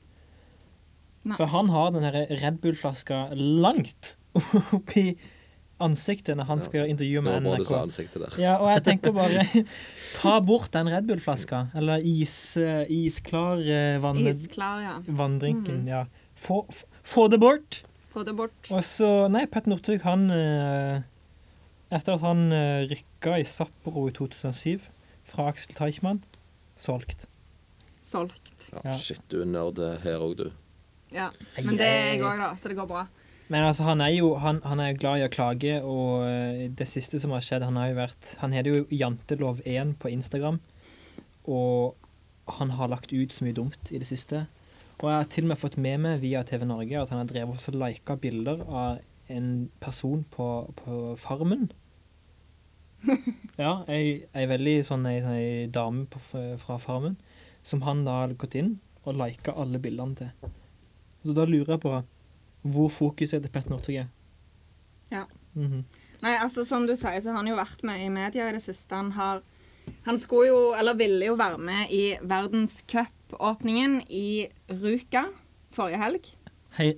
Nei. For han har den her Red Bull-flaska langt *laughs* oppi ansiktet når han Ja. skal intervjue Det med var bra du NRK. sa ansiktet der. Ja, og jeg tenker bare Ta bort den Red Bull-flaska, eller is, eh, isklar eh, vann, Isklar, ja. vanndrinken. Mm. Ja. Få, f- få det bort. Få det bort. Og så Nei, Petter Northug, han eh, Etter at han eh, rykka i Sapporo i 2007 fra Aksel Teichmann, solgt. Solgt. Ja, Ja. Shit, du er nerd her òg, du. Ja. Men det er jeg òg, da, så det går bra. Men altså, han er jo han, han er glad i å klage, og eh, det siste som har skjedd Han har jo vært Han heter jo Jantelov1 på Instagram, og han har lagt ut så mye dumt i det siste. Og jeg har til og med fått med meg via TV Norge at han har drevet også lika bilder av en person på, på Farmen. Ja, ei, ei veldig sånn ei, sånn ei dame på, fra Farmen som han da har gått inn og lika alle bildene til. Så da lurer jeg på hvor fokuset til Petter Northug er. Ja. Mhm. Nei, altså Som du sier, så har han jo vært med i media i det siste. Han har Han skulle jo, eller ville jo være med i verdenscupåpningen i Ruka forrige helg. Hei,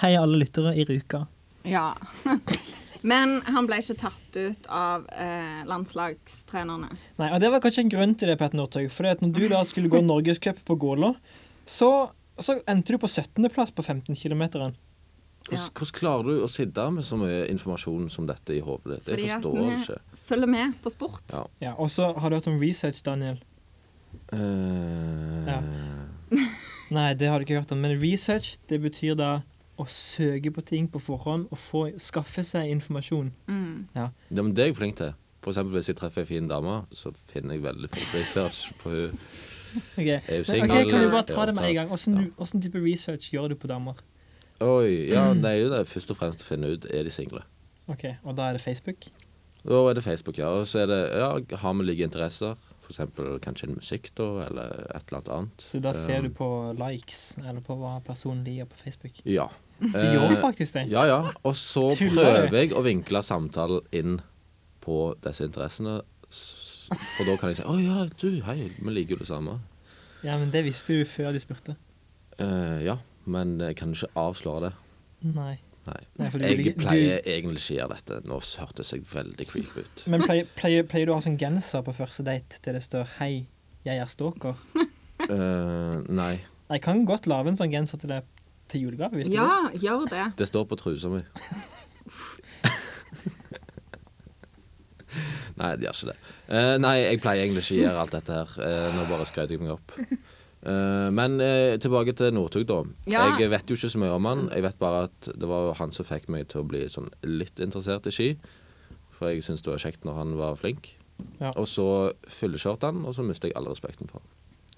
hei, alle lyttere i Ruka. Ja. *laughs* Men han ble ikke tatt ut av eh, landslagstrenerne. Nei, og Det var kanskje en grunn til det, Petter Northug. For når du da skulle gå norgescup på Gålå, så, så endte du på 17.-plass på 15 km. Hvordan, hvordan klarer du å sitte med så mye informasjon som dette i hodet ditt? Fordi Jeg at forstår vi- ikke. Følger med på sport. Ja. Ja, og så har du hørt om research, Daniel? Eh, Ja. Nei, det har du ikke hørt om. Men research det betyr da å søke på ting på forhånd og få, skaffe seg informasjon. Mm. ja, men det er jeg flink til. For eksempel hvis jeg treffer ei fin dame, så finner jeg veldig fort research på hun. Ok, Er hun Men, singel? ok, Kan du bare ta Er det med en gang? opptatt? Hvordan, du- hvordan type research gjør du på damer? Oi, ja, det er jo det først og fremst å finne ut er de single. Ok, Og da er det Facebook? Da er det Facebook, ja. Og så er det ja, har vi like interesser. For eksempel kanskje en musikk, da, eller et eller annet annet. Så da ser Eh, du på likes, eller på hva personen liker på Facebook? Ja. Du Eh, gjør faktisk det. Ja, ja. Og så *laughs* Tuller du? prøver jeg å vinkle samtalen inn på disse interessene. s- For da kan jeg si 'Å ja, du, hei, vi liker jo det samme'. Ja, men Det visste du før du spurte. Eh, ja. men jeg kan ikke avsløre det. Nei. Nei. Nei, for du vil Jeg ikke- du- pleier egentlig ikke å gjøre dette. Nå hørtes jeg veldig creepy *laughs* ut. Men pleier, pleier, pleier du å ha sånn genser på første date der det står 'Hei, jeg er stalker'? Eh, nei. Jeg kan godt lage en sånn genser til deg til julegave. hvis Ja, du vil. gjør det. Det står på trusa mi. nei, det gjør ikke det. Eh, nei, jeg pleier egentlig ikke å gjøre alt dette her. Eh, nå bare skrøt jeg meg opp. Eh, men eh, tilbake til Northug, da. Ja. Jeg vet jo ikke så mye om han. Jeg vet bare at det var han som fikk meg til å bli sånn litt interessert i ski. For jeg syntes det var kjekt når han var flink. Ja. Og så fyllekjørte han, og så mistet jeg all respekten for han.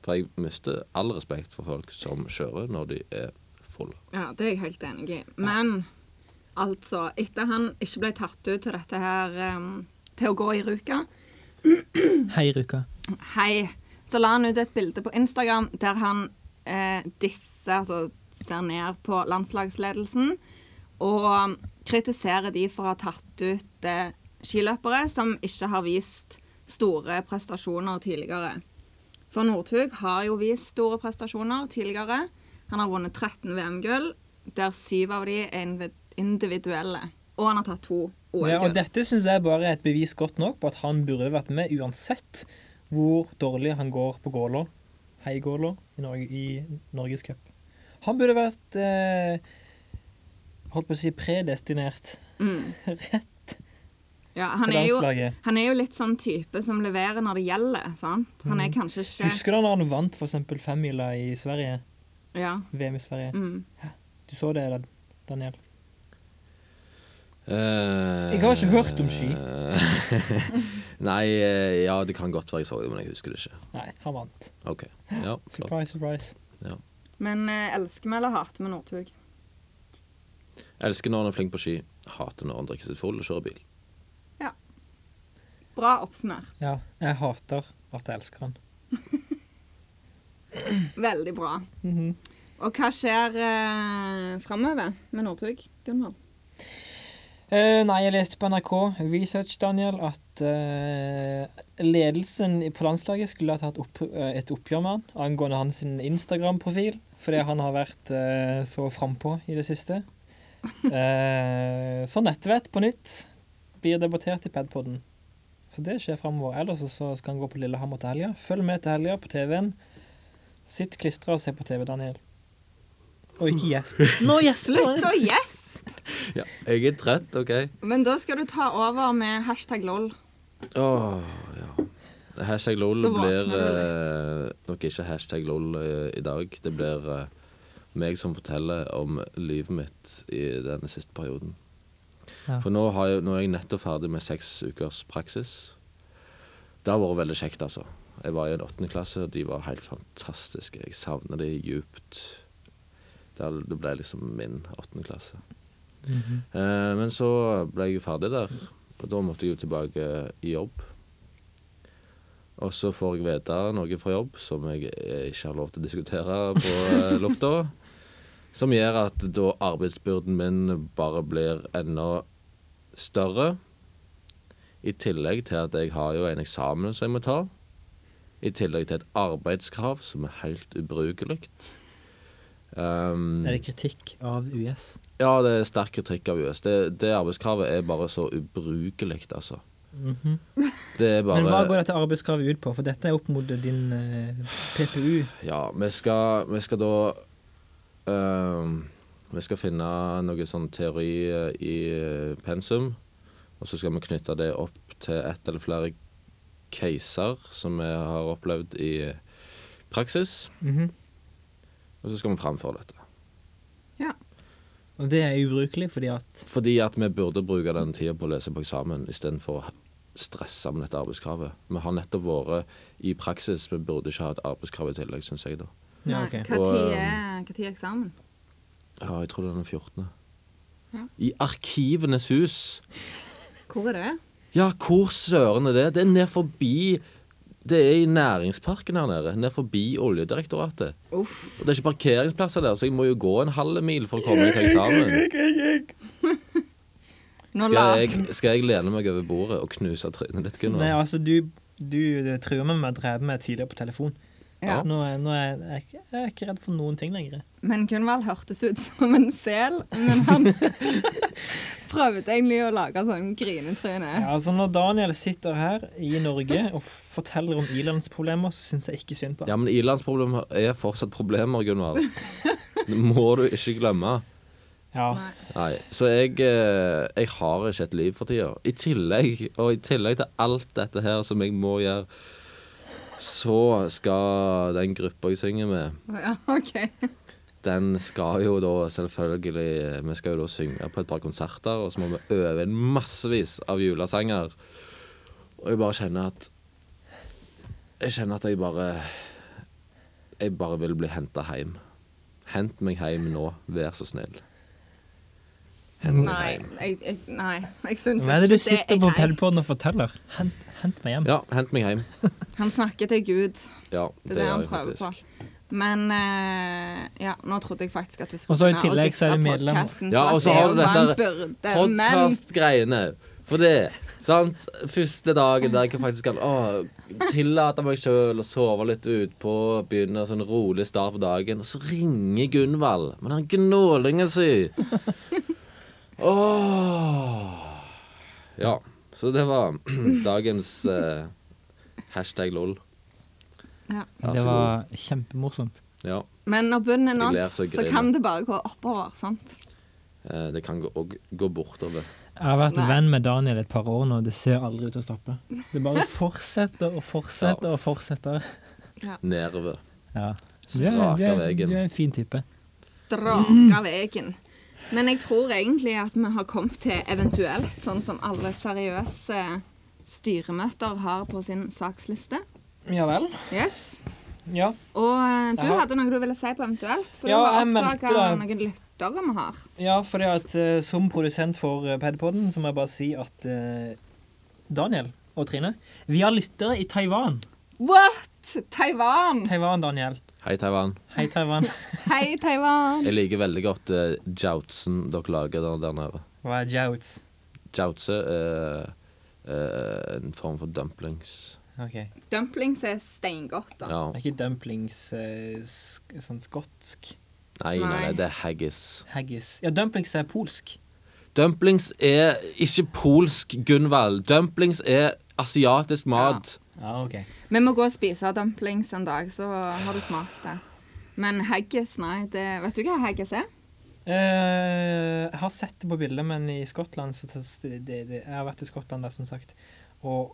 For jeg mister all respekt for folk som kjører når de er fulle. Ja, det er jeg helt enig i. Men altså, etter han ikke ble tatt ut til dette her em, til å gå i Ruka, Hei, Ruka. hei, så la han ut et bilde på Instagram der han eh, disser, altså ser ned på landslagsledelsen, og kritiserer de for å ha tatt ut eh, skiløpere som ikke har vist store prestasjoner tidligere. For Northug har jo vist store prestasjoner tidligere. Han har vunnet 13 VM-gull, der syv av de er invi- individuelle. Og han har tatt to Ja, og OL-gull. dette syns jeg bare er et bevis godt nok på at han burde vært med uansett hvor dårlig han går på Gålå. Hei, Gålå, i, Norge, i Norges Cup. Han burde vært eh, Holdt på å si predestinert. *laughs* Mm. Rett Ja, han til er jo landslaget. Han er jo litt sånn type som leverer når det gjelder, sant? Han er kanskje ikke Husker du da han vant f.eks. femmila i Sverige? Ja. VM i Sverige. Mm. Du så det, da, Daniel? Eh, Jeg har ikke hørt om ski. *laughs* Nei, eh, ja, det kan godt være jeg så det, men jeg husker det ikke. Nei, han vant. OK. *gasps* Ja, flott. Surprise, surprise. Men eh, elsker vi eller hater vi Northug? Elsker når han er flink på ski. Hater når han drikker seg full og kjører bil. Bra oppsummert. Ja, jeg hater at jeg elsker han. Veldig bra. Mhm. Og hva skjer eh, framover med Northug, Gunvald? Eh, nei, jeg leste på NRK Research, Daniel, at eh, ledelsen i- på landslaget skulle ha tatt opp, eh, et oppgjør med han angående hans Instagram-profil, fordi han har vært eh, så frampå i det siste. Eh, så nettvett på nytt blir debattert i Padpodden. Så det skjer framover. Ellers så- så skal han gå på Lillehammer til helga. Følg med til helga på TV-en. Sitt klistra og se på TV, Daniel. Og ikke gjesp. Nå gjesper Slutt å gjespe! Ja, jeg er trett, OK? Men da skal du ta over med hashtag lol. Åh, ja. Hashtag lol Så våkner blir du eh, nok ikke hashtag lol eh, i dag. Det blir eh, meg som forteller om livet mitt i denne siste perioden. Ja. For nå, har jeg, nå er jeg nettopp ferdig med seks ukers praksis. Det har vært veldig kjekt, altså. Jeg var i en åttende klasse, og de var helt fantastiske. Jeg savner de djupt. Det er- Det ble liksom min åttende klasse. Eh, Men så ble jeg jo ferdig der, og da måtte jeg jo tilbake i jobb. Og så får jeg vite noe fra jobb som jeg eh, ikke har lov til å diskutere på eh, lufta. Som gjør at da arbeidsbyrden min bare blir enda større. I tillegg til at jeg har jo en eksamen som jeg må ta. I tillegg til et arbeidskrav som er helt ubrukelig. Um, Er det kritikk av US? ja, det er sterk kritikk av US. Det, det arbeidskravet er bare så ubrukelig, altså. Det er bare Mhm. Men hva går dette arbeidskravet ut på? For dette er opp mot din eh, PPU. Ja, vi skal, vi skal da ehm, Vi skal finne noe sånn teori eh, i eh, pensum, og så skal vi knytte det opp til ett eller flere caser som vi har opplevd i praksis, Mhm. og så skal vi framføre dette. Og det er ubrukelig fordi at Fordi at vi burde bruke den tida på å lese på eksamen istedenfor å stresse med dette arbeidskravet. Vi har nettopp vært i praksis, vi burde ikke ha et arbeidskrav i tillegg, syns jeg, da. Nei, ja, ok. Hva Og, tid eh, er hva tid er eksamen? Ja, jeg tror det er den 14. Ja. I Arkivenes hus! Hvor er det? Ja, hvor søren er det? Det er ned forbi Det er i næringsparken her nede. Ned forbi Oljedirektoratet. Uff. Og det er ikke parkeringsplasser der, så jeg må jo gå en halv mil for å komme meg til eksamen. Nå Skal la- jeg, skal jeg lene meg over bordet og knuse trynet ditt, Nei, Gunvor? eh, altså, du, du truer meg med å drepe meg tidligere på telefon. Ja. Så nå, er- nå er jeg, ikke- jeg er ikke redd for noen ting lenger. Men Gunvald hørtes ut som en sel, men han prøvde egentlig å lage sånn grinetryne. Ja, altså Når Daniel sitter her i Norge og f- forteller om ilandsproblemer, så syns jeg ikke synd på ham. Ja, men ilandsproblemer er fortsatt problemer, Gunvald. Det må du ikke glemme. Ja. Nei. Nei, så jeg, eh, jeg har ikke et liv for tida. I tillegg, og i tillegg til alt dette her som jeg må gjøre, så skal den gruppa jeg synger med, Ja, OK. den skal jo da selvfølgelig Vi skal jo da synge på et par konserter, og så må vi øve inn massevis av julesanger. Og jeg bare kjenner at Jeg kjenner at jeg bare Jeg bare vil bli henta hjem. Hent meg hjem nå, vær så snill. Hent meg Nei, hjem. jeg, jeg, nei. jeg syns Hva er det du ikke sitter er på greit. pedpoden og forteller? Hent, hent meg hjem. Ja, hent meg hjem. Han snakker til Gud. Ja, Det er det gjør han jeg prøver faktisk. på. Men eh, ja, nå trodde jeg faktisk at vi Og så skulle i tillegg så er det medlemmer. Ja, og så har du dette Men podkast-greiene. For det, sant? Første dagen der jeg faktisk kan å, tillate meg sjøl å sove litt utpå, begynne sånn rolig start på dagen, og så ringer Gunvald med den gnålingen si. Åh. Ja. Så det var *clears throat* dagens eh, hashtag lol. Ja. Vær Det så god. var kjempemorsomt. Ja. Men når bunnen er Jeg ler nådd, så så, griner. kan det bare gå oppover, sant? Eh, Det kan gå, og gå bortover. Jeg har vært Nei. venn med Daniel et par år nå, og det ser aldri ut til å stoppe. Det *laughs* bare fortsetter og fortsetter og fortsetter. Nedover. Ja. Du er, du Strake er, veien. du er en fin type. Straka vegen. Men jeg tror egentlig at vi har kommet til eventuelt, sånn som alle seriøse styremøter har på sin saksliste. Ja vel. Yes. Ja. Og eh, du Jeg har- hadde noe du ville si på eventuelt? For Ja, jeg du har meldte oppdaga noen lyttere vi har. Ja, fordi at eh, som produsent for eh, Padpodden, så må jeg bare si at eh, Daniel og Trine Vi har lyttere i Taiwan. What? Taiwan! Taiwan, Daniel. Hei, Taiwan. Hei, *laughs* Taiwan. Hei, Taiwan! *laughs* Jeg liker veldig godt uh, joutsen dere lager der, der nede. Hva er jouts? Joutse er eh, en form for dumplings. OK. Det Dumplings er steingodt, da. Ja. er ikke dumplings eh, sk sånn skotsk Nei, nei, nei, Nei. det er haggis. haggis. Ja, dumplings er polsk. Dumplings er ikke polsk, Gunvald. Dumplings er asiatisk mat. Ja, OK. Vi må gå og spise dumplings en dag, så har du smakt det. Men haggis, nei. Det, vet du hva haggis er? Eh, jeg har sett det på bildet, men i Skottland så tas det, det, det, Jeg har vært i Skottland der, som sagt. Og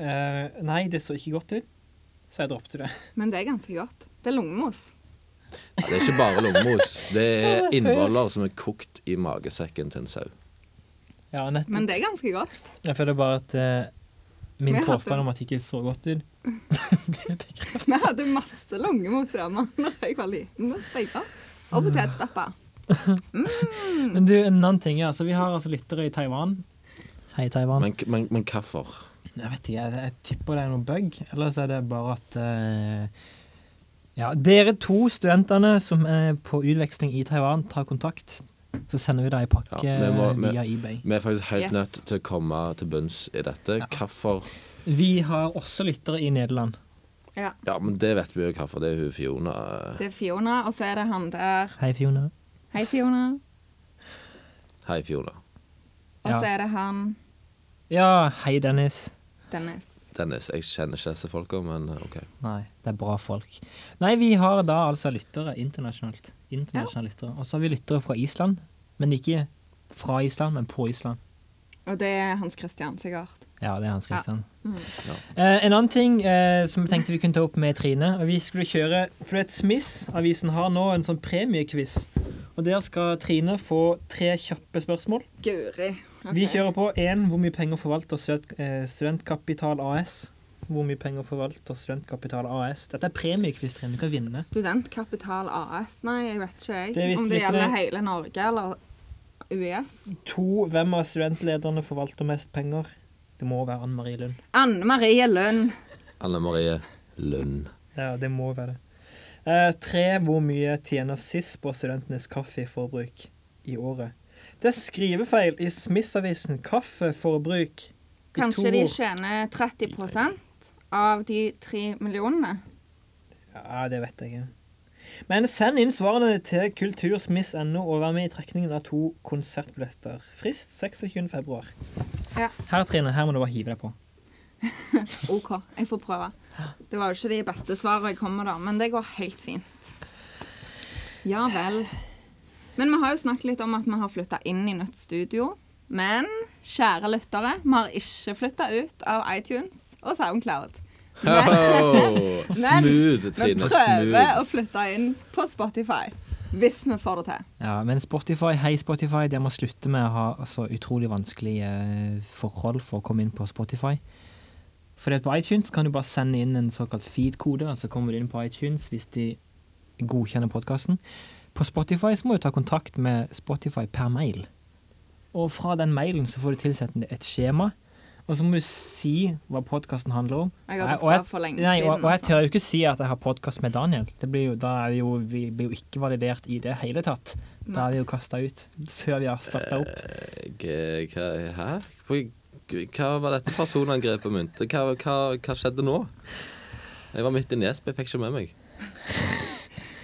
eh, Nei, det så ikke godt ut, så jeg droppet det. *laughs* Men det er ganske godt. Det er lungemos. Ja, det er ikke bare lommemos. Det er innvoller som er kokt i magesekken til en sau. Ja, nettopp. Men det er ganske godt. *laughs* Jeg føler bare at eh, min Men jeg hadde- påstand om at det ikke så godt ut *laughs* ble bekreftet. Vi hadde masse lungemos hjemme da *laughs* jeg var liten. Det var steingodt. Og potetstapper. Men du, en annen ting. ja, altså Vi har altså lyttere i Taiwan. Hei, Taiwan. Men, men, men hvorfor? Jeg vet ikke, jeg, jeg tipper det er noe bug. Eller så er det bare at eh, Ja, dere to studentene som er på utveksling i Taiwan, tar kontakt. Så sender vi deg en pakke Ja, vi må- vi- via eBay. Vi er faktisk helt Yes. nødt til å komme til bunns i dette. Hvorfor? Vi har også lyttere i Nederland. Ja, Ja, men det vet vi jo hvorfor. Det er hun Fiona. eh. det er Fiona, og så er det han der. Hei, Fiona. Hei, Fiona. Hei, Fiona. Og så Ja. er det han Ja, hei, Dennis. Dennis. Dennis, jeg kjenner ikke disse folka, men eh, OK. Nei, det er bra folk. Nei, vi har da altså lyttere internasjonalt. Internasjonale lyttere. Og så har vi lyttere fra Island, men ikke fra Island, men på Island. Og det er Hans Christian, sikkert. Ja, det er Hans Christian. Mm. Ja. Eh, en annen ting eh, som vi tenkte vi kunne ta opp med Trine og Vi skulle kjøre For du vet, Smiss-avisen har nå en sånn premiequiz. Og der skal Trine få tre kjappe spørsmål. Guri. Ok. Vi kjører på én hvor mye penger forvalter Student- eh, Studentkapital AS. Hvor mye penger forvalter Studentkapital AS? Dette er premiequiz, Trine. Du kan vinne. Studentkapital AS? Nei, jeg vet ikke jeg. Det er visst Om det litt gjelder det- hele Norge eller US. To, hvem av studentlederne forvalter mest penger? Det må være Anne Marie Lund. Anne Marie Lund. Anne Marie Lund. Ja, det må være det. Eh, tre, hvor mye tjener SIS på studentenes kaffeforbruk i året? Det er skrivefeil i Smiss-avisen. Kaffeforbruk i Kanskje de ord. tjener 30 av de tre millionene. Ja, det vet jeg ikke. Men send inn svarene til kultursmiss.no og vær med i trekningen av to konsertbilletter. Frist 26. februar. Ja. Her, Trine, her må du bare hive deg på. OK, jeg får prøve. Det var jo ikke de beste svarene jeg kom med, da, men det går helt fint. Ja vel. Men vi har jo snakket litt om at vi har flytta inn i nytt studio. Men kjære lyttere, vi har ikke flytta ut av iTunes og SoundCloud. Oh, Men- smooth, Vi Trine. prøver Smooth. å flytte inn på Spotify. Hvis vi får det til. Ja, men Spotify, hei Spotify, dere må slutte med å ha så utrolig vanskelige eh, forhold for å komme inn på Spotify. For på iTunes kan du bare sende inn en såkalt feed-kode, og så kommer du inn på iTunes hvis de godkjenner podkasten. På Spotify så må du ta kontakt med Spotify per mail. Og fra den mailen så får du tilsett et skjema, og så må du si hva podkasten handler om. Jeg har Nei, dratt og jeg- av for lenge Nei, og, siden. og jeg altså. tør jo ikke si at jeg har podkast med Daniel. Det blir jo, da er vi jo, vi blir jo ikke validert i det hele tatt. Da Nei. er vi jo kasta ut før vi har starta Eh, opp. Jeg- hva- Hæ? Hvor- Hva var dette personangrepet mitt? Hva, hva, hva skjedde nå? Jeg var midt i Nesbø, jeg fikk ikke med meg.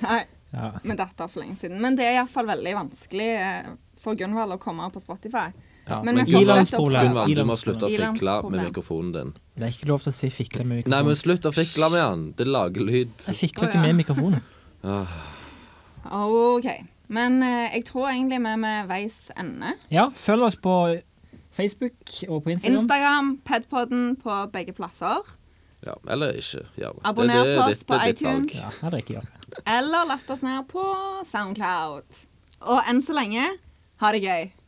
Nei, Ja. vi datt av for lenge siden. Men det er iallfall veldig vanskelig eh, for Gunvald å komme på Spotify. Ja, Men men vi Gunvald- fortsetter å Gunvald- prøve. Gunvald, du må slutte å Ilans fikle med problem. mikrofonen din. Det er ikke lov til å si 'fikle med Nei, mikrofonen'. men slutt å fikle med den. Det lager lyd. Jeg fikler Å, ikke ja. med mikrofonen. OK. Men eh, jeg tror egentlig vi er med veis ende. Ja, følg oss på Facebook og på Instagram. Instagram, Padpodden på begge plasser. Ja, eller ikke. Gjerne. Det- Abonner det er på ditt- oss det er på ditt valg. iTunes. ja, her drikker jeg. Eller last oss ned på Soundcloud. Og enn så lenge, ha det gøy.